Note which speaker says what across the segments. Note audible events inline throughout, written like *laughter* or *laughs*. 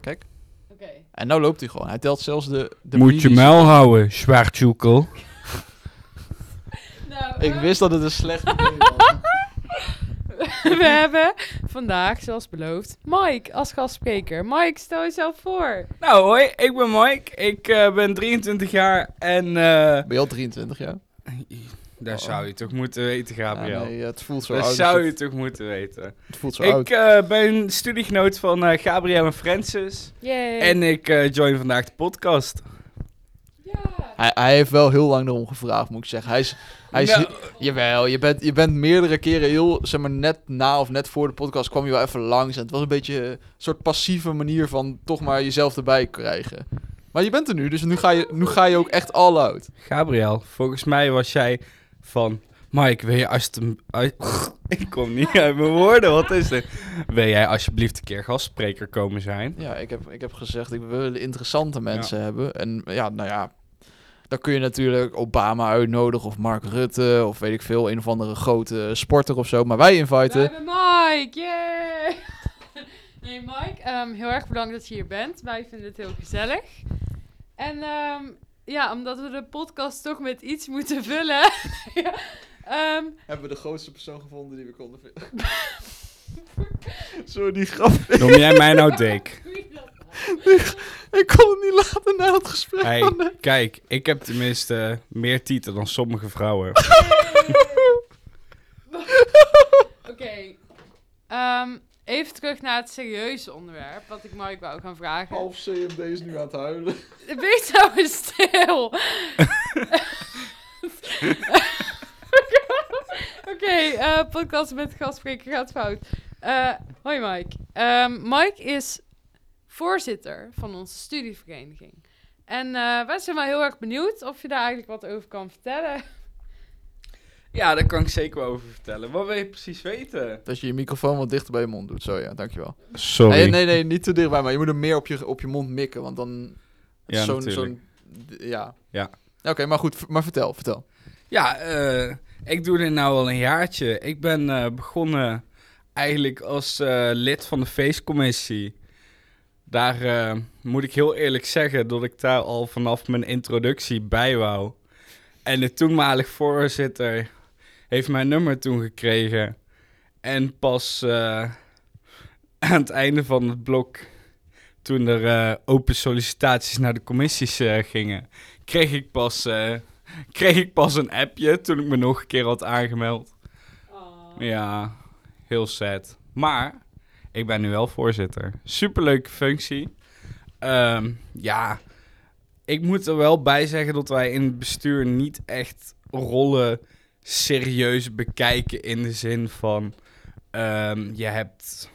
Speaker 1: Kijk.
Speaker 2: Oké.
Speaker 1: En nou loopt hij gewoon. Hij telt zelfs de... de
Speaker 3: Moet je
Speaker 1: minis.
Speaker 3: muil houden, zwaartjoekel.
Speaker 2: Nou,
Speaker 1: Ik
Speaker 2: eh,
Speaker 1: wist dat het een
Speaker 4: *laughs*
Speaker 1: slecht idee was.
Speaker 2: *laughs* We hebben vandaag, zoals beloofd, Mike als gastspreker. Mike, stel jezelf voor.
Speaker 4: Nou hoi, ik ben Mike. Ik eh, ben 23 jaar en... eh
Speaker 1: Ben je al 23 jaar?
Speaker 4: dat
Speaker 1: Oh.
Speaker 4: zou je toch moeten weten, Gabriel.
Speaker 1: Ja, nee, het voelt zo
Speaker 4: dat
Speaker 1: oud.
Speaker 4: zou je
Speaker 1: het,
Speaker 4: toch moeten weten.
Speaker 1: het voelt zo oud.
Speaker 4: Ik eh, ben studiegenoot van eh, Gabriel en Francis.
Speaker 2: Yay.
Speaker 4: En ik eh, join vandaag de podcast.
Speaker 2: Ja.
Speaker 1: Hij, hij heeft wel heel lang erom gevraagd, moet ik zeggen. Hij is... Hij is
Speaker 4: Nou,
Speaker 1: Jawel, je bent, je bent meerdere keren heel, zeg maar, net na of net voor de podcast kwam je wel even langs. En het was een beetje een soort passieve manier van toch maar jezelf erbij krijgen. Maar je bent er nu, dus nu ga je, nu ga je ook echt all out.
Speaker 4: Gabriel, volgens mij was jij van... Mike, wil je alsjeblieft... *laughs* Ik kom niet uit mijn woorden, wat is dit? Wil jij alsjeblieft een keer gastspreker komen zijn?
Speaker 1: Ja, ik heb, ik heb gezegd, ik wil interessante mensen hebben. En ja, nou ja, dan kun je natuurlijk Obama uitnodigen of Mark Rutte of weet ik veel, een of andere grote sporter of zo. Maar wij
Speaker 2: We
Speaker 1: inviten.
Speaker 2: hebben Mike. Yay. *laughs* Nee, Mike, ehm, heel erg bedankt dat je hier bent. Wij vinden het heel gezellig. En ehm, ja, omdat we de podcast toch met iets moeten vullen. *laughs* ja, ehm,
Speaker 1: Hebben we de grootste persoon gevonden die we konden vinden. *laughs* Sorry, die grap.
Speaker 4: Noem jij mij nou dik?
Speaker 1: Ik kon het niet laten na het gesprek.
Speaker 4: Hey,
Speaker 1: *laughs*
Speaker 4: kijk, ik heb tenminste meer titel dan sommige vrouwen.
Speaker 2: Oké. Ehm, even terug naar het serieuze onderwerp. Wat ik Mike wou gaan vragen.
Speaker 1: Oh, CMD is nu aan het huilen.
Speaker 2: Wees nou eens stil. Oké, eh, podcast met gastspreker gaat fout. Eh, hoi Mike. Ehm, Mike is voorzitter van onze studievereniging. En eh, wij zijn wel heel erg benieuwd of je daar eigenlijk wat over kan vertellen.
Speaker 4: Ja, daar kan ik zeker wel over vertellen. Wat wil je precies weten?
Speaker 1: Dat je je microfoon wat dichter bij je mond doet. Zo ja, dankjewel.
Speaker 4: Sorry.
Speaker 1: Nee, nee, nee, niet te dichtbij, maar je moet hem meer op je, op je mond mikken. Want dan.
Speaker 4: Ja,
Speaker 1: zo'n,
Speaker 4: natuurlijk.
Speaker 1: zo'n- d- ja.
Speaker 4: Ja.
Speaker 1: Oké, maar goed, v- maar vertel, vertel.
Speaker 4: Ja, eh, ik doe dit nou al een jaartje. Ik ben eh, begonnen eigenlijk als eh, lid van de feestcommissie. Daar eh, moet ik heel eerlijk zeggen dat ik daar al vanaf mijn introductie bij wou. En de toenmalig voorzitter heeft mijn nummer toen gekregen. En pas eh, aan het einde van het blok, toen er eh, open sollicitaties naar de commissies eh, gingen, kreeg ik pas... eh, kreeg ik pas een appje toen ik me nog een keer had aangemeld. Ja, heel sad. Maar ik ben nu wel voorzitter. Superleuke functie. Ehm, ja, ik moet er wel bij zeggen dat wij in het bestuur niet echt rollen serieus bekijken in de zin van ehm, je hebt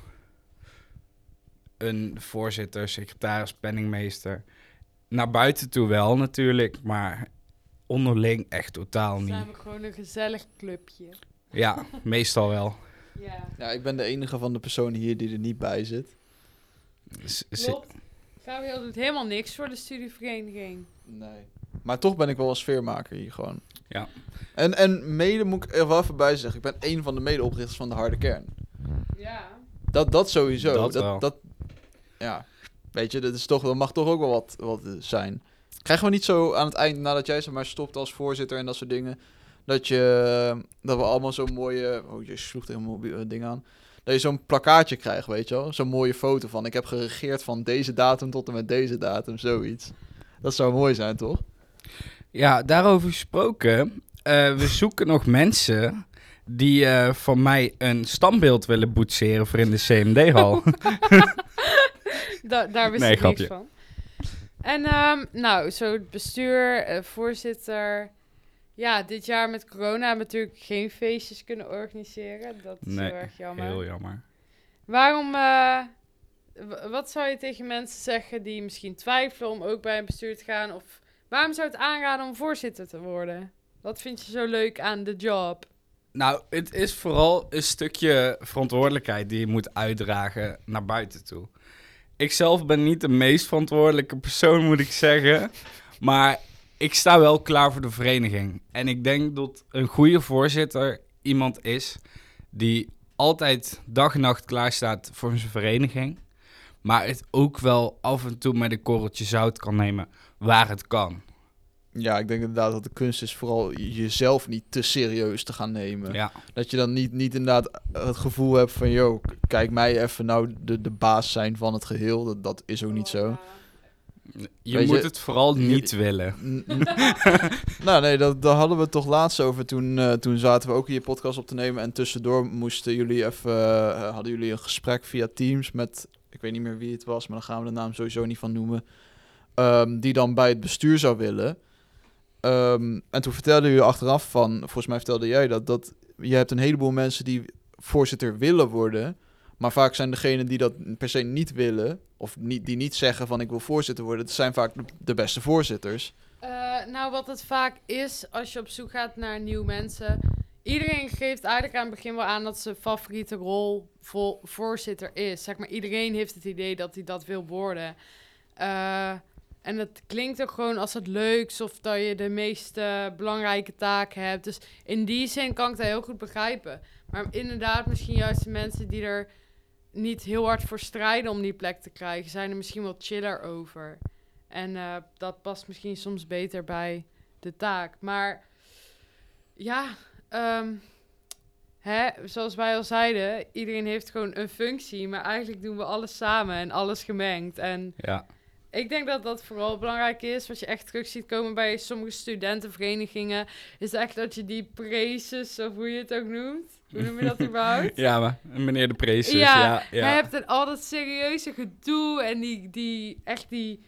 Speaker 4: een voorzitter, secretaris, penningmeester. Naar buiten toe wel natuurlijk, maar onderling echt totaal
Speaker 2: Dan
Speaker 4: niet.
Speaker 2: zijn we gewoon een gezellig clubje.
Speaker 4: Ja, meestal wel.
Speaker 2: Ja,
Speaker 1: Ja, ik ben de enige van de personen hier die er niet bij zit.
Speaker 4: S- s-
Speaker 2: klopt. Gabriel doet helemaal niks voor de studievereniging.
Speaker 1: Nee. Maar toch ben ik wel een sfeermaker hier gewoon.
Speaker 4: Ja.
Speaker 1: En, en mede moet ik er wel even bij zeggen, ik ben één van de medeoprichters van de harde kern.
Speaker 2: Ja.
Speaker 1: Dat, dat sowieso.
Speaker 4: Dat
Speaker 1: Dat, dat,
Speaker 4: wel.
Speaker 1: ja, weet je, dat, is toch, dat mag toch ook wel wat, wat eh, zijn. Krijgen we niet zo aan het eind, nadat jij zeg maar stopt als voorzitter en dat soort dingen, dat, je, eh, dat we allemaal zo'n mooie... Oh, je sloeg tegen mijn mobiel- eh, ding aan. Dat je zo'n plakkaatje krijgt, weet je wel? Zo'n mooie foto van, ik heb geregeerd van deze datum tot en met deze datum, zoiets. Dat zou mooi zijn, toch?
Speaker 4: Ja, daarover gesproken. eh, we zoeken nog mensen die eh, van mij een standbeeld willen boetseren voor in de CMD-hal.
Speaker 2: Da- daar wist
Speaker 4: Nee,
Speaker 2: ik
Speaker 4: grapje.
Speaker 2: niks van. En ehm, nou, zo het bestuur, eh, voorzitter. Ja, dit jaar met corona hebben we natuurlijk geen feestjes kunnen organiseren. Dat is
Speaker 4: Nee,
Speaker 2: heel erg jammer.
Speaker 4: Heel jammer.
Speaker 2: Waarom, eh, w- wat zou je tegen mensen zeggen die misschien twijfelen om ook bij een bestuur te gaan? Of waarom zou je het aanraden om voorzitter te worden? Wat vind je zo leuk aan de job?
Speaker 4: Nou, het is vooral een stukje verantwoordelijkheid die je moet uitdragen naar buiten toe. Ik zelf ben niet de meest verantwoordelijke persoon, moet ik zeggen. Maar ik sta wel klaar voor de vereniging. En ik denk dat een goede voorzitter iemand is die altijd dag en nacht klaar staat voor zijn vereniging. Maar het ook wel af en toe met een korreltje zout kan nemen waar het kan.
Speaker 1: Ja, ik denk inderdaad dat de kunst is vooral je- jezelf niet te serieus te gaan nemen.
Speaker 4: Ja.
Speaker 1: Dat je dan niet, niet inderdaad eh, het gevoel hebt van... yo, k- kijk mij even nou de, de baas zijn van het geheel. Dat, dat is ook niet zo.
Speaker 4: Je
Speaker 1: Weet
Speaker 4: moet
Speaker 1: je-
Speaker 4: het vooral
Speaker 1: je-
Speaker 4: niet willen.
Speaker 1: N- n- *laughs* nou nee, dat, daar hadden we het toch laatst over. Toen, eh, toen zaten we ook hier podcast op te nemen. En tussendoor moesten jullie even, eh, hadden jullie een gesprek via Teams met... Ik weet niet meer wie het was, maar dan gaan we de naam sowieso niet van noemen. ehm, die dan bij het bestuur zou willen. Ehm, en toen vertelde jullie achteraf van... Volgens mij vertelde jij dat, dat je hebt een heleboel mensen die voorzitter willen worden... Maar vaak zijn degenen die dat per se niet willen, of niet, die niet zeggen van ik wil voorzitter worden, dat zijn vaak de beste voorzitters.
Speaker 2: Eh, nou, wat het vaak is als je op zoek gaat naar nieuwe mensen. Iedereen geeft eigenlijk aan het begin wel aan dat zijn favoriete rol vo- voorzitter is. Zeg maar, iedereen heeft het idee dat hij dat wil worden. Eh, en het klinkt ook gewoon als het leuks of dat je de meest eh, belangrijke taak hebt. Dus in die zin kan ik dat heel goed begrijpen. Maar inderdaad, misschien juist de mensen die er niet heel hard voor strijden om die plek te krijgen, zijn er misschien wel chiller over. En eh, dat past misschien soms beter bij de taak. Maar ja, ehm, hè, zoals wij al zeiden, iedereen heeft gewoon een functie. Maar eigenlijk doen we alles samen en alles gemengd. En
Speaker 4: Ja.
Speaker 2: ik denk dat dat vooral belangrijk is. Wat je echt terug ziet komen bij sommige studentenverenigingen, is echt dat je die preces, of hoe je het ook noemt. Hoe noem je dat überhaupt?
Speaker 4: Ja, maar meneer de Prees.
Speaker 2: Ja,
Speaker 4: Ja, ja,
Speaker 2: Hij hebt dan al dat serieuze gedoe en die, die echt die,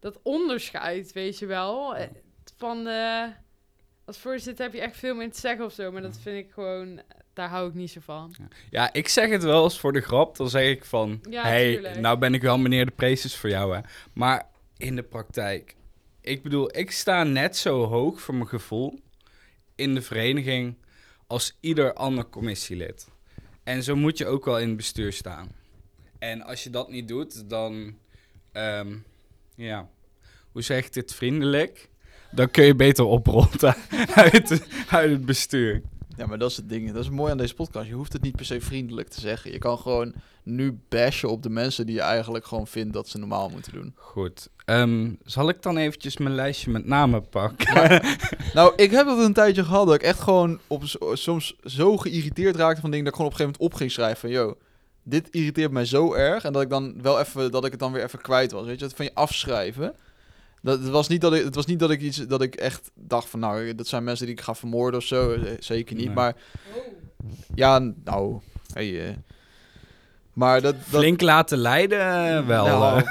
Speaker 2: dat onderscheid, weet je wel. Eh, Van, eh, als voorzitter heb je echt veel meer te zeggen of zo, maar dat vind ik gewoon, daar hou ik niet zo van.
Speaker 4: Ja, ik zeg het wel eens voor de grap. Dan zeg ik van,
Speaker 2: Ja,
Speaker 4: hey,
Speaker 2: tuurlijk.
Speaker 4: nou ben ik wel meneer de Prees voor jou, hè. Maar in de praktijk. Ik bedoel, ik sta net zo hoog voor mijn gevoel in de vereniging als ieder ander commissielid. En zo moet je ook wel in het bestuur staan. En als je dat niet doet, dan, ehm, ja, hoe zeg ik dit vriendelijk? Dan kun je beter oprotten *laughs* uit, uit het bestuur.
Speaker 1: Ja, maar dat is het ding. Dat is mooi aan deze podcast. Je hoeft het niet per se vriendelijk te zeggen. Je kan gewoon nu bashen op de mensen die je eigenlijk gewoon vindt dat ze normaal moeten doen.
Speaker 4: Goed. Ehm, zal ik dan eventjes mijn lijstje met namen pakken?
Speaker 1: Nou, ik heb dat een tijdje gehad dat ik echt gewoon op, zo- soms zo geïrriteerd raakte van dingen dat ik gewoon op een gegeven moment op ging schrijven van, yo, dit irriteert mij zo erg en dat ik dan wel even, dat ik het dan weer even kwijt was. Weet je, dat van je afschrijven. Dat, het, was niet dat ik, het was niet dat ik iets, dat ik echt dacht van, nou, dat zijn mensen die ik ga vermoorden of zo. Eh, Zeker niet,
Speaker 4: Nee.
Speaker 1: maar ja, nou, hey, eh. Maar dat, *laughs* dat,
Speaker 4: Flink laten leiden eh, wel.
Speaker 1: Nou,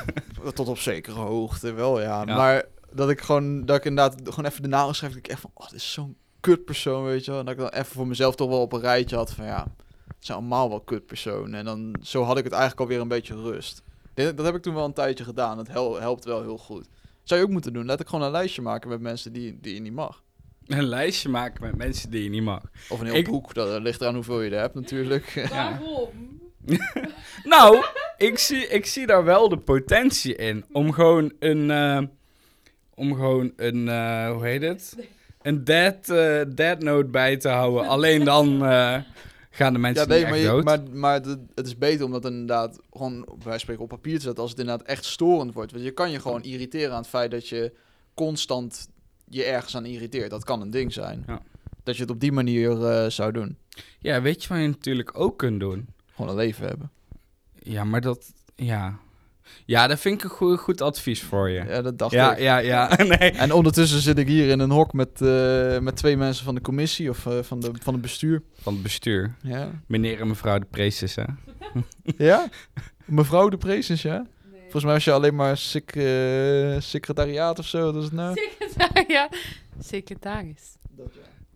Speaker 4: eh.
Speaker 1: *laughs* tot op zekere hoogte wel, ja.
Speaker 4: Ja.
Speaker 1: Maar dat ik gewoon, dat ik inderdaad gewoon even de naam schrijf, dat ik echt van, oh, dit is zo'n kutpersoon, weet je wel. En dat ik dan even voor mezelf toch wel op een rijtje had van, ja, het zijn allemaal wel kutpersonen. En dan, zo had ik het eigenlijk alweer een beetje rust. Dit- Dat heb ik toen wel een tijdje gedaan, dat hel- helpt wel heel goed. Zou je ook moeten doen, laat ik gewoon een lijstje maken met mensen die, die je niet mag.
Speaker 4: Een lijstje maken met mensen die je niet mag.
Speaker 1: Of een heel
Speaker 4: Ik-
Speaker 1: boek, dat eh, ligt eraan hoeveel je er hebt natuurlijk. *laughs*
Speaker 2: *laughs* Waarom?
Speaker 4: Nou, ik zie, ik zie daar wel de potentie in. Om gewoon een. eh, om gewoon een. eh, hoe heet het? Een dead, eh, dead note bij te houden. Alleen dan eh, gaan de mensen
Speaker 1: Ja, nee,
Speaker 4: niet
Speaker 1: maar,
Speaker 4: echt
Speaker 1: je-
Speaker 4: dood.
Speaker 1: maar, maar het, het is beter om dat inderdaad gewoon bij spreken op papier te zetten als het inderdaad echt storend wordt. Want je kan je gewoon irriteren aan het feit dat je constant je ergens aan irriteert. Dat kan een ding zijn.
Speaker 4: Ja.
Speaker 1: Dat je het op die manier eh, zou doen.
Speaker 4: Ja, weet je wat je natuurlijk ook kunt doen?
Speaker 1: Gewoon een leven hebben.
Speaker 4: Ja, maar dat. Ja. Ja, daar vind ik een goe- goed advies voor je.
Speaker 1: Ja, dat dacht
Speaker 4: Ja,
Speaker 1: ik.
Speaker 4: ja, ja. *laughs* Nee.
Speaker 1: En ondertussen zit ik hier in een hok met, eh, met twee mensen van de commissie of eh, van, de, van het bestuur.
Speaker 4: Van het bestuur.
Speaker 1: Ja.
Speaker 4: Meneer en mevrouw de Preces, hè?
Speaker 1: ja? Mevrouw de Prezens, ja?
Speaker 2: Nee.
Speaker 1: Volgens mij was je alleen maar sec- eh, secretariaat of zo. wat is het nou?
Speaker 2: ja, secretaris.
Speaker 1: Dat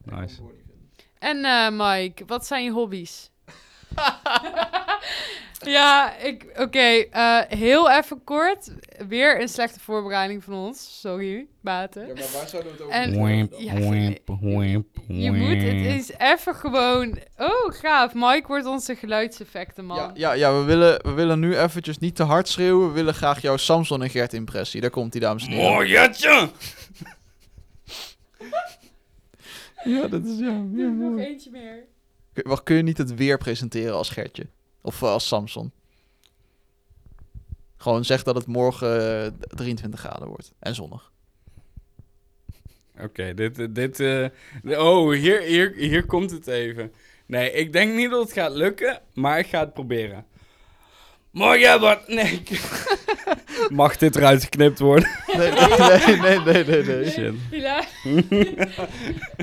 Speaker 1: ja.
Speaker 4: Nice.
Speaker 2: En eh, Mike, wat zijn je hobby's? ja, ik, oké, eh, heel even kort. Weer een slechte voorbereiding van ons. Sorry, baten.
Speaker 1: maar waar zouden we het
Speaker 2: En-
Speaker 4: Wimp,
Speaker 2: Ja,
Speaker 4: wimp, wimp,
Speaker 2: Je moet, het
Speaker 4: wimp.
Speaker 2: is even gewoon... Oh, gaaf. Mike wordt onze geluidseffecten, man.
Speaker 1: Ja, ja, ja we, willen, we willen nu eventjes niet te hard schreeuwen. We willen graag jouw Samson en Gert impressie. Daar komt die dames en heren.
Speaker 4: Mooi, jetje!
Speaker 1: Ja, dat is ja.
Speaker 2: Doe er nog eentje meer.
Speaker 1: Wacht, kun je niet het weer presenteren als Gertje? Of eh, als Samson? Gewoon zeg dat het morgen eh, 23 graden wordt. En zonnig.
Speaker 4: Oké, dit... eh, dit eh, oh, hier, hier, hier komt het even. Nee, ik denk niet dat het gaat lukken, maar ik ga het proberen. Morgen wordt... Nee. ik- *laughs* Mag dit eruit geknipt worden?
Speaker 1: Nee, nee, nee, nee, nee. nee.
Speaker 4: Shit. *laughs*
Speaker 2: Hila.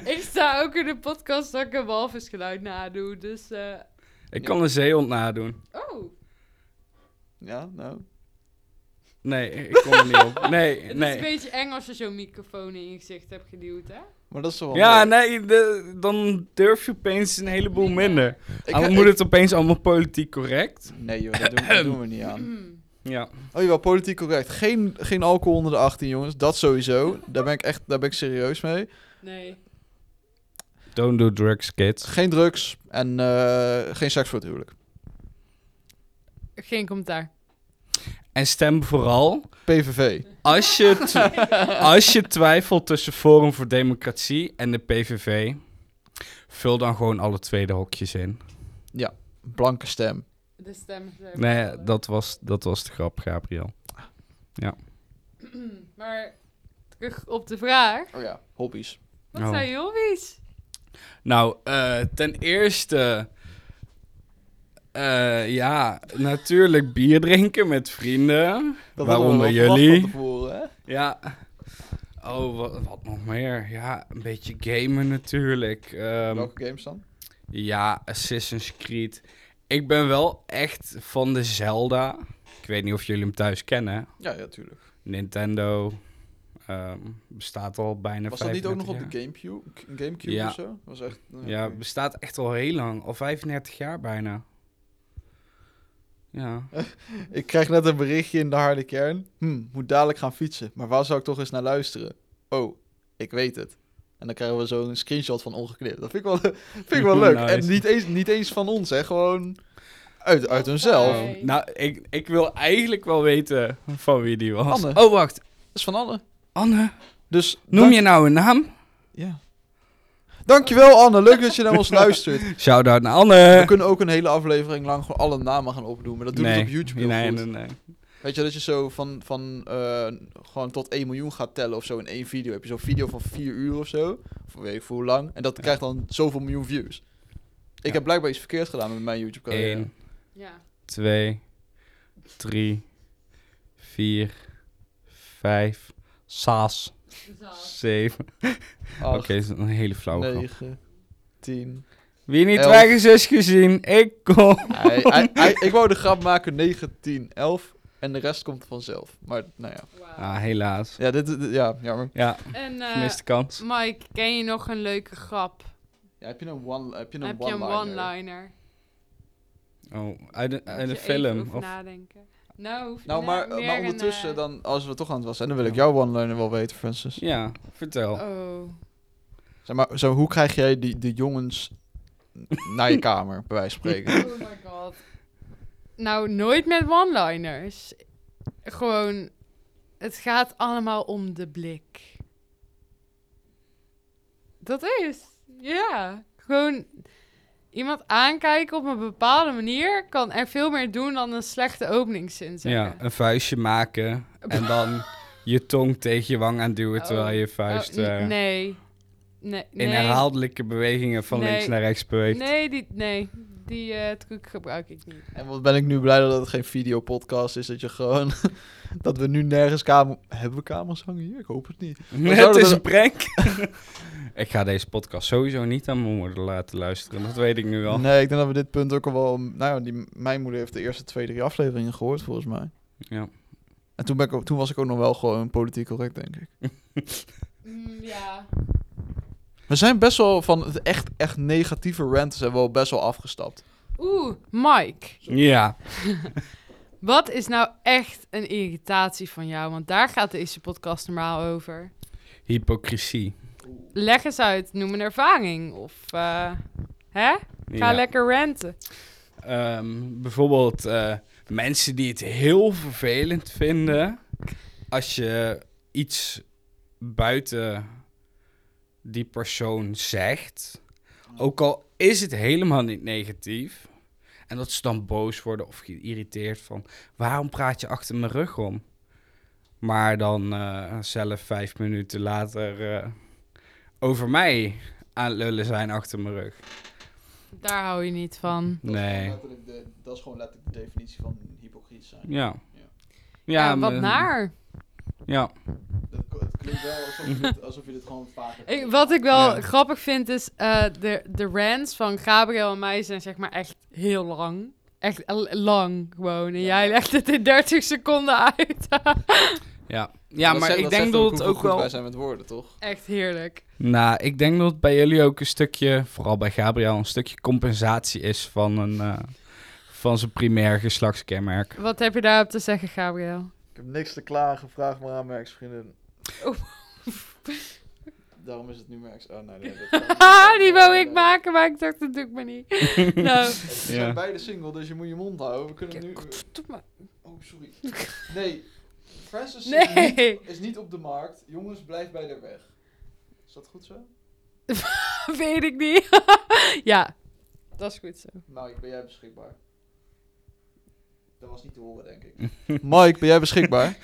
Speaker 2: ik sta ook in de podcast dat ik een walvisgeluid nadoe, dus... eh,
Speaker 4: Ik kan een zeehond nadoen.
Speaker 2: oh,
Speaker 1: Ja, nou.
Speaker 4: Nee, ik kom er niet op. Nee,
Speaker 2: het is een
Speaker 4: nee.
Speaker 2: beetje eng als je zo'n microfoon in je gezicht hebt geduwd, hè?
Speaker 1: Maar dat is toch wel
Speaker 4: Ja,
Speaker 1: leuk.
Speaker 4: nee, de- dan durf je opeens een heleboel minder.
Speaker 1: Ik-
Speaker 4: Dan
Speaker 1: ik-
Speaker 4: moet het opeens allemaal politiek correct.
Speaker 1: Nee joh, *coughs* dat doen, dat doen we niet aan.
Speaker 2: Mm.
Speaker 4: Ja.
Speaker 1: Oh jawel, politiek correct. Geen, geen alcohol onder de 18 jongens, dat sowieso. Daar ben ik echt daar ben ik serieus mee.
Speaker 2: *clears throat* Nee.
Speaker 4: Don't do drugs, kids.
Speaker 1: Geen drugs en eh, geen seks voor het huwelijk.
Speaker 2: Geen commentaar.
Speaker 4: En stem vooral
Speaker 1: PVV.
Speaker 4: als je, tw- als je twijfelt tussen Forum voor Democratie en de PVV. Vul dan gewoon alle tweede hokjes in.
Speaker 1: Blanke stem.
Speaker 2: De stem is even
Speaker 4: Nee,
Speaker 2: gevallen.
Speaker 4: dat was, dat was de grap, Gabriel.
Speaker 2: *clears throat* Maar terug op de vraag.
Speaker 1: Oh ja, hobby's.
Speaker 2: Wat
Speaker 4: Oh.
Speaker 2: zijn je hobby's?
Speaker 4: Nou, eh, ten eerste. eh, ja, natuurlijk bier drinken met vrienden.
Speaker 1: Dat
Speaker 4: Waaronder
Speaker 1: hadden we wel verwacht
Speaker 4: jullie.
Speaker 1: van tevoren, hè?
Speaker 4: Ja. Oh, wat, wat nog meer? Ja, een beetje gamen natuurlijk. Ehm,
Speaker 1: Welke games dan?
Speaker 4: ja, Assassin's Creed. Ik ben wel echt van de Zelda. Ik weet niet of jullie hem thuis kennen.
Speaker 1: Ja, ja, tuurlijk.
Speaker 4: Nintendo ehm, bestaat al bijna
Speaker 1: Was dat niet ook nog
Speaker 4: 35
Speaker 1: op de Oh, Gamecube, Gamecube
Speaker 4: Ja.
Speaker 1: of zo? Was echt, eh,
Speaker 4: jaar. Ja, bestaat echt al heel lang. Al 35 jaar bijna. Ja.
Speaker 1: Ik krijg net een berichtje in de harde kern. Hm, moet dadelijk gaan fietsen. Maar waar zou ik toch eens naar luisteren? Oh, ik weet het. En dan krijgen we zo'n screenshot van ongeknipt. Dat vind ik wel, *laughs* vind ik wel leuk.
Speaker 4: Nice.
Speaker 1: En niet eens, niet eens van ons, hè. Gewoon uit, uit hunzelf.
Speaker 2: Hey.
Speaker 4: Ehm, nou, ik, ik wil eigenlijk wel weten van wie die was.
Speaker 1: Anne.
Speaker 4: Oh, wacht.
Speaker 1: Dat is van alle.
Speaker 4: Anne,
Speaker 1: Dus
Speaker 4: noem
Speaker 1: dank-
Speaker 4: je nou een naam?
Speaker 1: Ja. Dankjewel, Anne. Leuk dat je naar ons
Speaker 4: *laughs*
Speaker 1: luistert.
Speaker 4: Shout-out naar
Speaker 1: We
Speaker 4: Anne.
Speaker 1: kunnen ook een hele aflevering lang gewoon alle namen gaan opdoen. Maar dat doen we dus
Speaker 4: Nee,
Speaker 1: op YouTube heel
Speaker 4: nee,
Speaker 1: goed.
Speaker 4: nee, nee.
Speaker 1: Weet je, dat je zo van, van eh, gewoon tot 1 miljoen gaat tellen of zo in één video. Heb je zo'n video van 4 uur of zo, of weet ik voor hoe lang. En dat krijgt dan zoveel miljoen views. Ik
Speaker 4: Ja.
Speaker 1: heb blijkbaar iets verkeerd gedaan met mijn YouTube carrière.
Speaker 4: 1,
Speaker 2: Ja.
Speaker 4: 2, 3, 4, 5, saas,
Speaker 2: Zaal.
Speaker 4: 7. Oké, dat is een hele flauwe grap.
Speaker 1: 9, 10.
Speaker 4: Wie niet
Speaker 1: Elf.
Speaker 4: ergens is gezien, ik kom.
Speaker 2: Ah.
Speaker 1: ik wou de grap maken 9, 10, 11 en de rest komt vanzelf. Maar nou ja.
Speaker 2: Wauw.
Speaker 4: Ah, helaas.
Speaker 1: Ja, dit, dit- ja jammer.
Speaker 4: Ja,
Speaker 2: En eh,
Speaker 4: gemiste kans.
Speaker 2: Mike, ken je nog een leuke grap?
Speaker 1: Ja, heb je een one Heb je een
Speaker 2: Heb je een
Speaker 1: one-liner?
Speaker 2: one-liner?
Speaker 4: Oh, uit de, uit de
Speaker 2: Moet je even
Speaker 4: film.
Speaker 2: over
Speaker 4: Of,
Speaker 2: nadenken. Nou, hoef je
Speaker 1: Nou,
Speaker 2: na-
Speaker 1: maar,
Speaker 2: meer
Speaker 1: maar
Speaker 2: een,
Speaker 1: ondertussen,
Speaker 2: eh,
Speaker 1: dan, als we toch aan het was zijn, dan wil ik
Speaker 4: Ja.
Speaker 1: jouw one-liner wel weten, Francis.
Speaker 4: ja, vertel. *laughs*
Speaker 2: Oh.
Speaker 1: Zeg maar, zo, hoe krijg jij die, de jongens naar je kamer, bij wijze van spreken?
Speaker 2: oh my god. Nou, nooit met one-liners. Gewoon, het gaat allemaal om de blik. Dat is, ja. Gewoon, iemand aankijken op een bepaalde manier kan er veel meer doen dan een slechte openingszin zeggen.
Speaker 4: Ja, een vuistje maken en
Speaker 2: *laughs*
Speaker 4: dan je tong tegen je wang aan duwen
Speaker 2: Oh.
Speaker 4: terwijl je vuist
Speaker 2: Oh, n-
Speaker 4: eh,
Speaker 2: nee. Nee, nee.
Speaker 4: in herhaaldelijke bewegingen van
Speaker 2: Nee.
Speaker 4: links naar rechts beweegt.
Speaker 2: Nee, die, nee. die eh, truc gebruik ik niet.
Speaker 1: En wat ben ik nu blij dat het geen videopodcast is, dat je gewoon... *laughs* dat we nu nergens kamer... Hebben we kamers hangen hier? Ik hoop het niet.
Speaker 4: Nee, het
Speaker 1: zouden
Speaker 4: is
Speaker 1: er-
Speaker 4: een prank. *laughs* ik ga deze podcast sowieso niet aan mijn moeder laten luisteren. Dat weet ik nu wel.
Speaker 1: Nee, ik denk dat we dit punt ook al wel... Nou ja, die, mijn moeder heeft de eerste twee, drie afleveringen gehoord, volgens mij.
Speaker 4: Ja.
Speaker 1: En toen, ben ik, ook- toen was ik ook nog wel gewoon politiek correct, denk ik.
Speaker 2: ja.
Speaker 1: We zijn best wel van het echt, echt negatieve rant zijn we al best wel afgestapt.
Speaker 2: Oeh, Mike.
Speaker 4: Ja.
Speaker 2: Wat is nou echt een irritatie van jou? Want daar gaat deze podcast normaal over.
Speaker 4: Hypocrisie.
Speaker 2: Leg eens uit, noem een ervaring. Of, eh, hè? Ga
Speaker 4: Ja.
Speaker 2: lekker ranten.
Speaker 4: Ehm, bijvoorbeeld eh, mensen die het heel vervelend vinden als je iets buiten die persoon zegt. Ook al is het helemaal niet negatief. En dat ze dan boos worden of geïrriteerd van... waarom praat je achter mijn rug om? Maar dan eh, zelf vijf minuten later eh, over mij aan het lullen zijn achter mijn rug.
Speaker 2: Daar hou je niet van.
Speaker 1: Dat is gewoon
Speaker 4: Nee.
Speaker 1: letterlijk de- Dat is gewoon letterlijk de definitie van hypocriet zijn.
Speaker 4: Ja.
Speaker 1: Ja.
Speaker 2: Ja, Eh, wat
Speaker 4: maar-
Speaker 2: naar.
Speaker 4: Ja.
Speaker 1: Dat, het klinkt wel alsof je dit, alsof je dit gewoon vaker...
Speaker 2: Ik- wat ik wel
Speaker 4: Ja.
Speaker 2: grappig vind is eh, de, de rants van Gabriel en mij zijn zeg maar echt heel lang. Echt l- lang gewoon. En
Speaker 1: Ja.
Speaker 2: jij legt het in 30 seconden uit.
Speaker 4: Ja, ja maar ik denk dat het ook wel...
Speaker 1: wij zijn met woorden, toch?
Speaker 2: echt heerlijk.
Speaker 4: Nou, ik denk dat het bij jullie ook een stukje, vooral bij Gabriel, een stukje compensatie is van, een, eh, van zijn primair
Speaker 1: *laughs*
Speaker 4: geslachtskenmerk.
Speaker 2: Wat heb je daarop te zeggen,
Speaker 4: *laughs*
Speaker 2: Gabriel?
Speaker 1: Ik heb niks te klagen, vraag maar aan mijn ex-vriendin.
Speaker 2: Oeh.
Speaker 1: *laughs* Daarom is het nu mijn ex... Oh, nee, nee.
Speaker 2: *laughs* Ah, Die wou ik maken, maar ik dacht, dat doe ik maar
Speaker 4: *laughs*
Speaker 2: niet. nou,
Speaker 1: We
Speaker 4: Ja.
Speaker 1: zijn beide single, dus je moet je mond houden. We kunnen nu...
Speaker 2: doe maar.
Speaker 1: Oh, sorry. Nee. Francis is,
Speaker 2: Nee. *laughs*
Speaker 1: niet, is niet op de markt. Jongens, blijf bij haar weg. Is dat goed zo?
Speaker 2: Weet ik niet. *laughs* ja, dat is goed zo.
Speaker 1: Mike, ben jij beschikbaar? Dat was niet te horen, denk ik.
Speaker 4: *laughs*
Speaker 1: Mike, ben jij beschikbaar?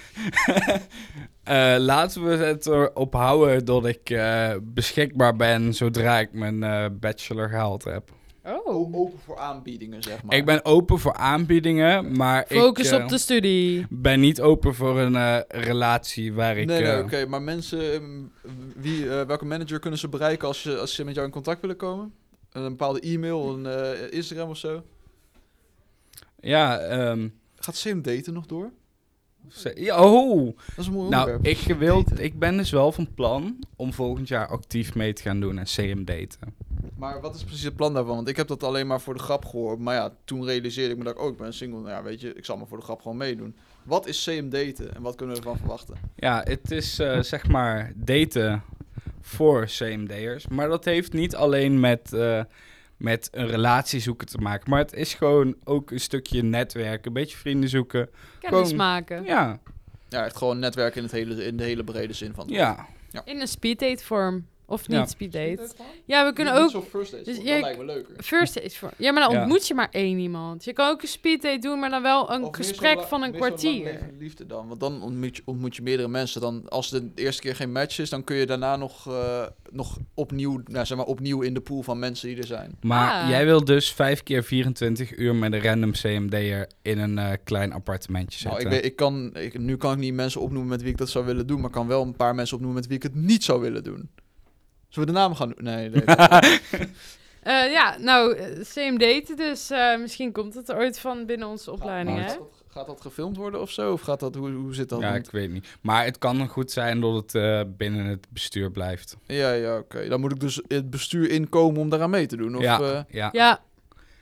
Speaker 4: Eh, laten we het erop houden dat ik eh, beschikbaar ben zodra ik mijn eh, bachelor gehaald heb.
Speaker 1: O- open voor aanbiedingen, zeg maar.
Speaker 4: Ik ben open voor aanbiedingen, maar
Speaker 2: Focus
Speaker 4: ik eh,
Speaker 2: op de studie.
Speaker 4: ben niet open voor een eh, relatie waar ik...
Speaker 1: nee, nee,
Speaker 4: eh,
Speaker 1: oké. Maar mensen, mm, wie, eh, welke manager kunnen ze bereiken als ze, als ze met jou in contact willen komen? Een bepaalde e-mail, een eh, Instagram of zo.
Speaker 4: Ja, ehm,
Speaker 1: Gaat Sim daten nog door?
Speaker 4: ze- ja, oh...
Speaker 1: Dat is een mooi
Speaker 4: Nou,
Speaker 1: onderwerp.
Speaker 4: ik, wil,
Speaker 1: Daten.
Speaker 4: ik ben dus wel van plan om volgend jaar actief mee te gaan doen en CM daten.
Speaker 1: Maar wat is precies het plan daarvan? Want ik heb dat alleen maar voor de grap gehoord. Maar ja, toen realiseerde ik me dat ik ook ben single. Nou ja, weet je, ik zal maar voor de grap gewoon meedoen. Wat is CM daten en wat kunnen we ervan verwachten?
Speaker 4: Ja, het is eh, zeg maar daten voor CMD'ers. Maar dat heeft niet alleen met, eh, met een relatie zoeken te maken. Maar het is gewoon ook een stukje netwerken, een beetje vrienden zoeken.
Speaker 2: Kennis
Speaker 4: gewoon-
Speaker 2: maken.
Speaker 4: Ja,
Speaker 1: Ja, echt gewoon netwerken in, het hele, in de hele brede zin van. het woord.
Speaker 4: ja.
Speaker 2: In een speeddate vorm. Of niet
Speaker 4: Ja.
Speaker 2: speeddate. Ja, we kunnen
Speaker 1: Niet
Speaker 2: ook
Speaker 1: zo'n first date.
Speaker 2: dus
Speaker 1: dat
Speaker 2: jij-
Speaker 1: lijkt me leuker.
Speaker 2: first date vorm. Ja, maar dan
Speaker 4: Ja.
Speaker 2: ontmoet je maar één iemand. Je kan ook een speeddate doen, maar dan wel
Speaker 1: Of
Speaker 2: een
Speaker 1: meer
Speaker 2: gesprek
Speaker 1: zo'n la-
Speaker 2: van een
Speaker 1: meer zo'n
Speaker 2: kwartier.
Speaker 1: langlevende liefde dan. Want dan ontmoet je, ontmoet je meerdere mensen. Dan, als het de eerste keer geen match is, dan kun je daarna nog, eh, nog opnieuw, nou, zeg maar, opnieuw in de pool van mensen die er zijn.
Speaker 4: Maar
Speaker 2: Ah.
Speaker 4: jij wil dus 5 keer 24 uur met een random CMD'er in een eh, klein appartementje
Speaker 1: Nou,
Speaker 4: zitten.
Speaker 1: ik, weet, ik kan, ik, nu kan ik niet mensen opnoemen met wie ik dat zou willen doen, maar ik kan wel een paar mensen opnoemen met wie ik het niet zou willen doen. Zullen we de naam gaan doen? Nee,
Speaker 4: *laughs*
Speaker 1: nee. dat-
Speaker 2: Eh, ja, nou, eh, same daten dus. eh, misschien komt het er ooit van binnen onze opleiding,
Speaker 1: gaat,
Speaker 2: hè?
Speaker 1: dat, gaat dat gefilmd worden of zo? Of gaat dat, hoe, hoe zit dat?
Speaker 4: ja, ik weet niet. Maar het kan goed zijn dat het eh, binnen het bestuur blijft.
Speaker 1: ja, ja oké. Dan moet ik dus het bestuur inkomen om daaraan mee te doen. Of,
Speaker 4: ja,
Speaker 1: eh,
Speaker 4: ja.
Speaker 2: Ja,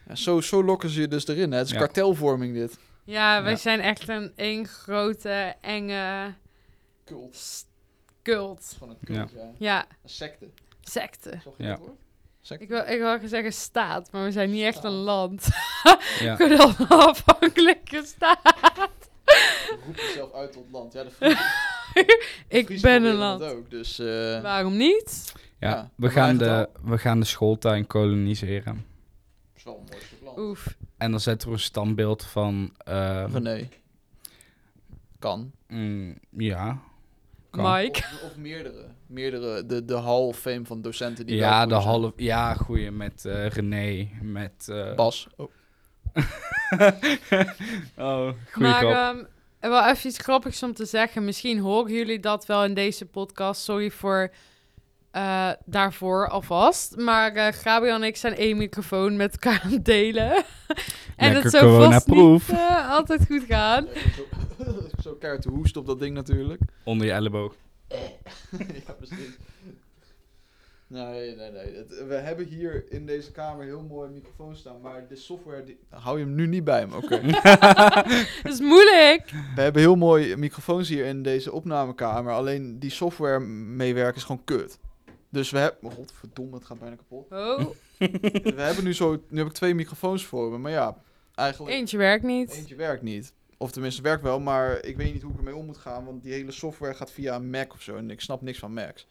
Speaker 1: ja, zo, zo lokken ze je dus erin. Hè? Het is
Speaker 4: Ja.
Speaker 1: kartelvorming dit.
Speaker 2: ja wij
Speaker 4: Ja.
Speaker 2: zijn echt een één grote, enge
Speaker 1: Cult.
Speaker 2: s- cult.
Speaker 1: Gewoon een
Speaker 4: cult,
Speaker 2: Ja,
Speaker 1: Een secte.
Speaker 2: secte.
Speaker 1: Zo
Speaker 4: je Ja. dat
Speaker 2: Ik wil, ik wil zeggen staat, maar we zijn niet echt een
Speaker 1: Staat.
Speaker 2: land. *laughs*
Speaker 4: *laughs* ja.
Speaker 2: Een onafhankelijke staat.
Speaker 1: roep jezelf uit tot land.
Speaker 2: *laughs*
Speaker 1: Ja, de Fries-
Speaker 2: Ik
Speaker 1: Friesen
Speaker 2: ben een
Speaker 1: proberen
Speaker 2: land.
Speaker 1: dat ook, dus... eh,
Speaker 2: Waarom niet?
Speaker 4: Ja,
Speaker 1: Ja,
Speaker 4: we,
Speaker 1: hebben
Speaker 4: gaan
Speaker 1: wij
Speaker 4: de, we gaan de schooltuin koloniseren.
Speaker 1: is wel een mooi stuk land.
Speaker 2: Oef.
Speaker 4: En dan zetten we een standbeeld van... eh,
Speaker 1: René. Kan.
Speaker 4: mm, ja. Kan.
Speaker 2: Mike.
Speaker 1: Of, of meerdere. Meerdere. De, de Hall of Fame van docenten die wel
Speaker 4: Ja,
Speaker 1: goed
Speaker 4: de
Speaker 1: zijn.
Speaker 4: half... Ja, goeie. Met eh, René. Met... eh,
Speaker 1: Bas. Oh, *laughs*
Speaker 4: oh, goeie
Speaker 2: Maar
Speaker 4: grap.
Speaker 2: ehm, wel even iets grappigs om te zeggen. Misschien horen jullie dat wel in deze podcast. Sorry voor eh, daarvoor alvast. Maar eh Gabriel en ik zijn één microfoon met elkaar aan het delen. *laughs* en
Speaker 4: Lekker
Speaker 2: het zou vast niet
Speaker 4: coronaproof.
Speaker 2: eh, altijd goed gaan.
Speaker 1: zo, *laughs* zo keihard te hoesten op dat ding natuurlijk.
Speaker 4: Onder je elleboog.
Speaker 1: *laughs* ja, precies. Nee, nee, nee. Het- we hebben hier in deze kamer heel mooi microfoons staan, maar de software... Die... Hou je hem nu niet bij hem, *laughs* oké.
Speaker 2: Dat is moeilijk.
Speaker 1: we hebben heel mooi microfoons hier in deze opnamekamer, alleen die software meewerken is gewoon kut. Dus we hebben... Oh, godverdomme, het gaat bijna *laughs* kapot.
Speaker 2: Oh,
Speaker 1: we hebben nu zo... Nu heb ik twee microfoons voor me, maar ja, eigenlijk...
Speaker 2: eentje werkt niet.
Speaker 1: Eentje werkt niet. Of tenminste, werkt wel, maar ik weet niet hoe ik ermee om moet gaan. Want die hele software gaat via een Mac of zo. En ik snap niks van Macs.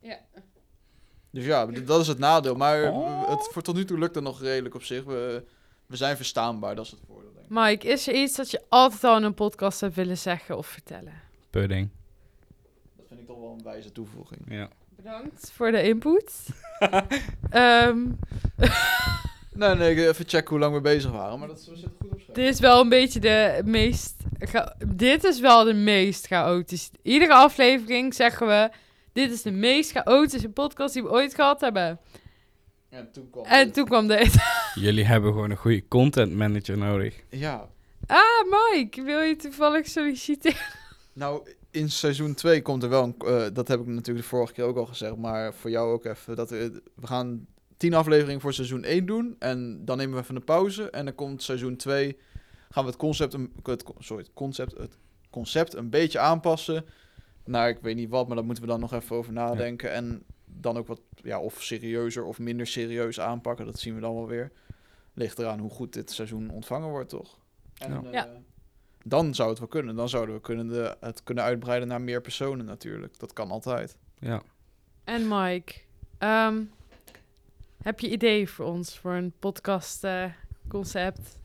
Speaker 2: Ja.
Speaker 1: Dus ja, d- dat is het nadeel. Maar
Speaker 4: Oh.
Speaker 1: het, voor tot nu toe lukt het nog redelijk op zich. We, we zijn verstaanbaar, dat is het voordeel. Denk ik.
Speaker 2: Mike, is er iets dat je altijd al in een podcast hebt willen zeggen of vertellen?
Speaker 4: Pudding.
Speaker 1: Dat vind ik toch wel een wijze toevoeging.
Speaker 4: Ja.
Speaker 2: Bedankt voor de input. Ehm,
Speaker 1: Nee, nee, ik- even checken hoe lang we bezig waren. Maar dat we zitten goed op schrijven.
Speaker 2: dit is wel een beetje de meest. cha- Dit is wel de meest chaotische. Iedere aflevering zeggen we. Dit is de meest chaotische podcast die we ooit gehad hebben.
Speaker 1: En toen kwam
Speaker 2: En
Speaker 1: dit.
Speaker 2: toen kwam dit.
Speaker 4: Jullie hebben gewoon een goede content manager nodig.
Speaker 1: Ja,
Speaker 2: Ah, *laughs* Mike, wil je toevallig solliciteren?
Speaker 1: nou, in seizoen 2 komt er wel een... eh, dat heb ik natuurlijk de vorige keer ook al gezegd. Maar voor jou ook even. Dat we, we gaan tien afleveringen voor seizoen 1 doen. En dan nemen we even een pauze. En dan komt seizoen 2... Gaan we het concept... een- Het, con- sorry, het concept, het concept een beetje aanpassen. Naar ik weet niet wat, maar daar moeten we dan nog even over nadenken. En dan ook wat... Ja, of serieuzer of minder serieus aanpakken. Dat zien we dan wel weer. Ligt eraan hoe goed dit seizoen ontvangen wordt, toch? En,
Speaker 4: Ja.
Speaker 1: eh,
Speaker 2: Ja.
Speaker 1: Dan zou het wel kunnen. Dan zouden we kunnen de, het kunnen uitbreiden naar meer personen natuurlijk. Dat kan altijd.
Speaker 4: Ja.
Speaker 2: En Mike, ehm, heb je ideeën voor ons voor een podcast eh, concept?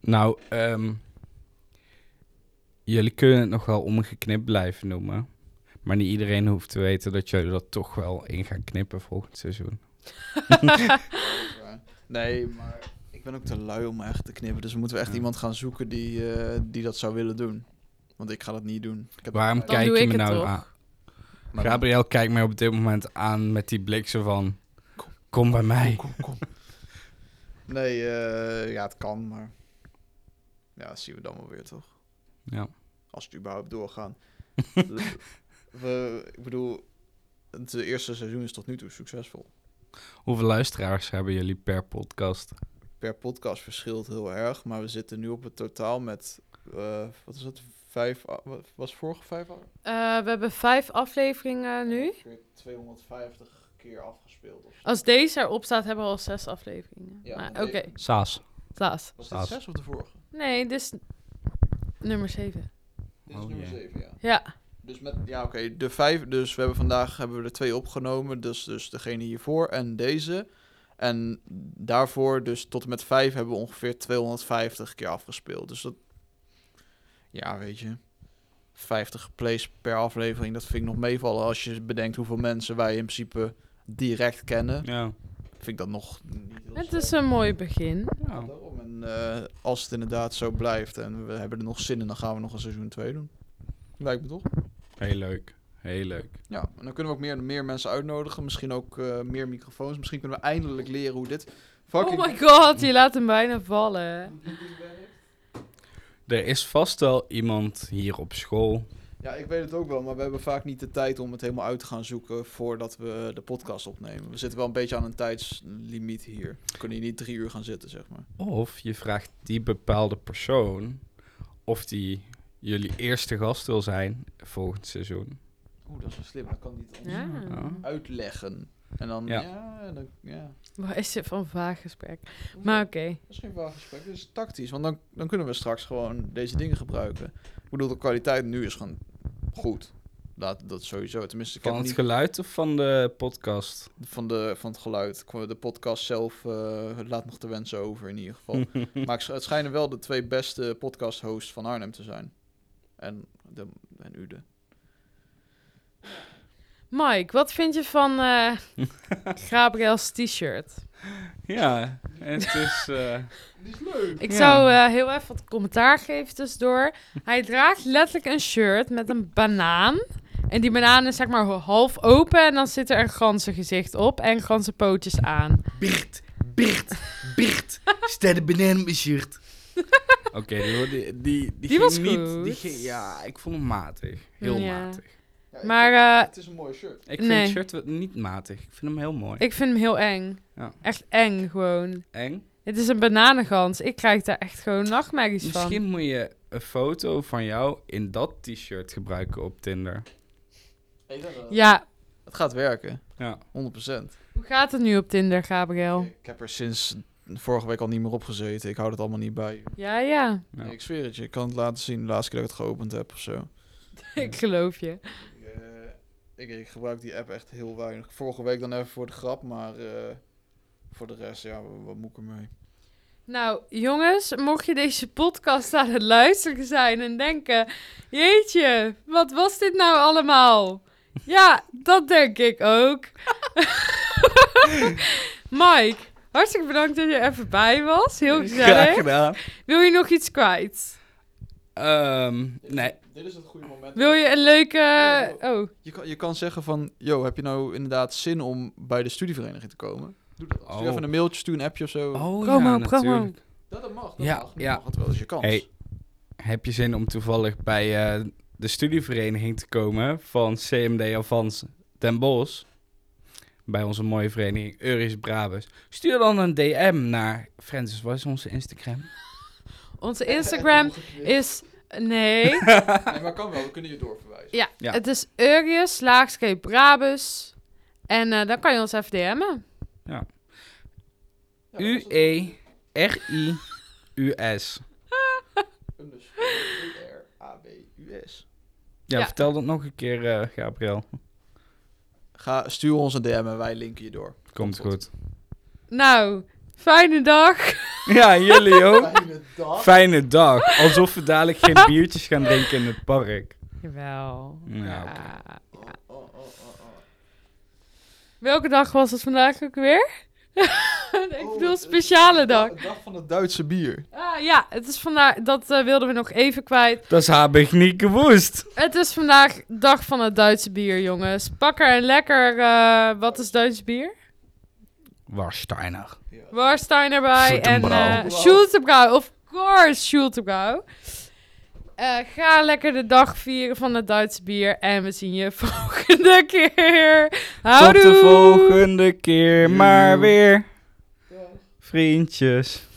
Speaker 4: Nou, ehm, jullie kunnen het nog wel omgeknipt blijven noemen. Maar niet iedereen hoeft te weten dat jullie dat toch wel in gaan knippen volgend seizoen.
Speaker 1: Nee, maar ik ben ook te lui om echt te knippen. Dus we moeten echt
Speaker 4: Ja.
Speaker 1: iemand gaan zoeken die, eh, die dat zou willen doen. Want ik ga dat niet doen. Ik heb
Speaker 4: Waarom
Speaker 1: maar-
Speaker 2: Dan
Speaker 4: kijk
Speaker 2: doe
Speaker 4: je
Speaker 2: ik
Speaker 4: me
Speaker 2: het
Speaker 4: nou
Speaker 2: toch?
Speaker 4: aan?
Speaker 1: maar-
Speaker 4: Gabriel kijkt mij op dit moment aan met die blik zo van... Kom, bij mij.
Speaker 1: Kom, kom. *laughs* Nee, eh, ja, het kan, maar... Ja, dat zien we dan wel weer, toch?
Speaker 4: Ja.
Speaker 1: Als het überhaupt
Speaker 4: *laughs*
Speaker 1: doorgaan. Dus we, ik bedoel, het eerste seizoen is tot nu toe succesvol.
Speaker 4: Hoeveel luisteraars hebben jullie per podcast?
Speaker 1: per podcast verschilt heel erg. Maar we zitten nu op het totaal met, eh, wat is het, vijf, a- wa- was vorige vijf al?
Speaker 2: Eh, we hebben vijf afleveringen nu. Oh.
Speaker 1: Ongeveer 250 keer afgespeeld. Of zo.
Speaker 2: Als deze erop staat, hebben we al zes afleveringen.
Speaker 1: Ja,
Speaker 2: Maar
Speaker 1: want
Speaker 2: Oké,
Speaker 1: deze-
Speaker 4: Saas.
Speaker 2: Klaas.
Speaker 1: Was dit
Speaker 4: Als-
Speaker 1: zes of de vorige?
Speaker 2: Nee, dit is nummer zeven.
Speaker 1: Dit is
Speaker 4: Oh,
Speaker 1: nummer
Speaker 4: jee.
Speaker 1: zeven, ja.
Speaker 2: Ja,
Speaker 1: Dus met, ja oké, de vijf, dus we hebben vandaag hebben we er twee opgenomen. Dus, dus degene hiervoor en deze. En daarvoor, dus tot en met vijf, hebben we ongeveer 250 keer afgespeeld. Dus dat, ja weet je, 50 plays per aflevering, dat vind ik nog meevallen. Als je bedenkt hoeveel mensen wij in principe direct kennen,
Speaker 4: Ja.
Speaker 1: vind ik dat nog niet heel
Speaker 2: het
Speaker 1: slecht.
Speaker 2: is een mooi begin.
Speaker 4: Oh.
Speaker 1: Ja, daarom. En eh, als het inderdaad zo blijft en we hebben er nog zin in, dan gaan we nog een seizoen 2 doen. Lijkt me toch?
Speaker 4: Heel leuk. Heel leuk.
Speaker 1: Ja, en dan kunnen we ook meer, meer mensen uitnodigen. Misschien ook eh, meer microfoons. Misschien kunnen we eindelijk leren hoe dit fucking...
Speaker 2: Oh my god, je laat hem bijna vallen.
Speaker 4: Er is vast wel iemand hier op school.
Speaker 1: *laughs* Ja, ik weet het ook wel, maar we hebben vaak niet de tijd om het helemaal uit te gaan zoeken voordat we de podcast opnemen. We zitten wel een beetje aan een tijdslimiet hier. We kunnen hier niet drie uur gaan zitten, zeg maar.
Speaker 4: Of je vraagt die bepaalde persoon of die jullie eerste gast wil zijn volgend seizoen.
Speaker 1: Oeh, dat is wel slim. Dat kan niet
Speaker 2: Ja.
Speaker 1: uitleggen. En dan, ja,
Speaker 4: Ja.
Speaker 1: dan, ja.
Speaker 2: Wat is dit voor een vaag gesprek? Maar oké.
Speaker 1: Dat is geen vaag gesprek, dat is tactisch. Want dan, dan kunnen we straks gewoon deze dingen gebruiken. Ik bedoel, de kwaliteit nu is gewoon goed. Dat, dat sowieso. Tenminste, ik
Speaker 4: Van
Speaker 1: heb
Speaker 4: het
Speaker 1: niet
Speaker 4: geluid of van de podcast?
Speaker 1: van, de, van het geluid. Qua- De podcast zelf eh, laat nog te wensen over in ieder
Speaker 4: *laughs*
Speaker 1: geval. maar het sch- het schijnen wel de twee beste podcast-hosts van Arnhem te zijn. En, de, en Ude.
Speaker 2: Mike, wat vind je van
Speaker 4: *laughs*
Speaker 2: eh, Gabriels t-shirt?
Speaker 4: Ja, het is... eh,
Speaker 1: Die is leuk.
Speaker 2: Ik
Speaker 4: Ja.
Speaker 2: zou eh, heel even wat commentaar geven tussendoor. Hij draagt letterlijk een shirt met een banaan. En die banaan is zeg maar half open en dan zit er een ganzengezicht op en ganzenpootjes aan.
Speaker 5: Bert, Bert, Bert, staat de banaan op mijn shirt.
Speaker 4: Oké, die, hoor- die, die, die,
Speaker 2: Die
Speaker 4: ging
Speaker 2: was
Speaker 4: niet,
Speaker 2: goed.
Speaker 4: Die ging, ja, ik vond hem matig. Heel
Speaker 2: Ja.
Speaker 4: matig.
Speaker 2: Maar eh,
Speaker 1: het is een mooie shirt.
Speaker 4: Ik vind
Speaker 2: Nee.
Speaker 4: het shirt wel- niet matig. Ik vind hem heel mooi.
Speaker 2: ik vind hem heel eng.
Speaker 4: Ja.
Speaker 2: Echt eng gewoon.
Speaker 4: Eng.
Speaker 2: Het is een bananengans. Ik krijg daar echt gewoon nachtmerries
Speaker 4: Misschien moet je een foto van jou in dat t-shirt gebruiken op Tinder.
Speaker 2: van. Ja,
Speaker 1: eh, Het gaat werken,
Speaker 4: Ja.
Speaker 1: 100%.
Speaker 2: hoe gaat het nu op Tinder, Gabriel?
Speaker 1: Ik heb er sinds vorige week al niet meer op gezeten. Ik hou het allemaal niet bij.
Speaker 2: Ja, ja. *laughs*
Speaker 4: Ja.
Speaker 1: Nee, ik zweer het je. Ik kan het laten zien de laatste keer dat ik het geopend heb of zo.
Speaker 2: ik geloof je.
Speaker 1: Eh, Ik, ik gebruik die app echt heel weinig. Vorige week dan even voor de grap, maar eh, voor de rest, ja, wat, wat moet ik ermee?
Speaker 2: Nou, jongens, mocht je deze podcast aan het luisteren zijn en denken: Jeetje, wat was dit nou allemaal? Ja, dat denk ik ook. *laughs* Mike, hartstikke bedankt dat je er even bij was. Heel
Speaker 4: *laughs* Graag
Speaker 2: gezellig.
Speaker 4: gedaan.
Speaker 2: Wil je nog iets kwijt?
Speaker 4: Ehm, nee.
Speaker 1: Dit is het goede moment.
Speaker 2: Wil je een leuke. Oh,
Speaker 1: Je kan, je kan zeggen van, yo, heb je nou inderdaad zin om bij de studievereniging te komen? Doe dat. Stuur
Speaker 4: Oh.
Speaker 1: even een mailtje, stuur een appje of zo.
Speaker 4: Oh,
Speaker 2: Promo,
Speaker 4: ja,
Speaker 2: promo.
Speaker 4: natuurlijk.
Speaker 1: Dat, mag,
Speaker 4: dat Ja, mag. Nu ja. mag
Speaker 1: het wel eens je kans.
Speaker 4: Hey. Heb je zin om toevallig bij eh, de studievereniging te komen van CMD Avans Den Bosch? Bij onze mooie vereniging Euris Brabus. Stuur dan een DM naar Francis, wat is onze Instagram?
Speaker 2: onze Instagram is. Nee,
Speaker 1: Nee, maar kan wel, we kunnen je doorverwijzen.
Speaker 2: ja,
Speaker 4: Ja.
Speaker 2: het is Urius, laagstreep Brabus. En eh, dan kan je ons even DM'en.
Speaker 1: Ja, dat was het.
Speaker 4: E. U-E-R-I-U-S.
Speaker 1: Underscore R-A-B-U-S.
Speaker 4: Ja,
Speaker 2: Ja.
Speaker 4: vertel dat nog een keer, eh, Gabriel.
Speaker 1: Ga, stuur ons een DM en wij linken je door.
Speaker 4: Komt goed.
Speaker 2: Nou, fijne dag.
Speaker 4: Ja, jullie ook.
Speaker 1: Fijne dag.
Speaker 4: Fijne dag. Alsof we dadelijk geen biertjes gaan drinken in het park.
Speaker 2: Jawel.
Speaker 4: Ja,
Speaker 1: Oh, oh, oh, oh, oh.
Speaker 2: Welke dag was het vandaag ook weer? *laughs* ik
Speaker 1: Oh,
Speaker 2: bedoel,
Speaker 1: het-
Speaker 2: speciale dag.
Speaker 1: De dag van het Duitse bier.
Speaker 2: Ah, ja, het is vandaag, dat eh, wilden we nog even kwijt.
Speaker 4: Dat is habig niet gewoest.
Speaker 2: Het is vandaag dag van het Duitse bier, jongens. Pakker en lekker, eh, wat is Duits bier?
Speaker 4: Warsteiner.
Speaker 1: Ja.
Speaker 2: Warstein erbij nou en eh
Speaker 4: Schultenbrau.
Speaker 2: Schultebrau, of course Schultebrau. Eh, ga lekker de dag vieren van het Duitse bier en we zien je *laughs* volgende keer. Houdoe!
Speaker 4: Tot de volgende keer, maar
Speaker 1: Joe.
Speaker 4: weer.
Speaker 1: Ja.
Speaker 4: Vriendjes.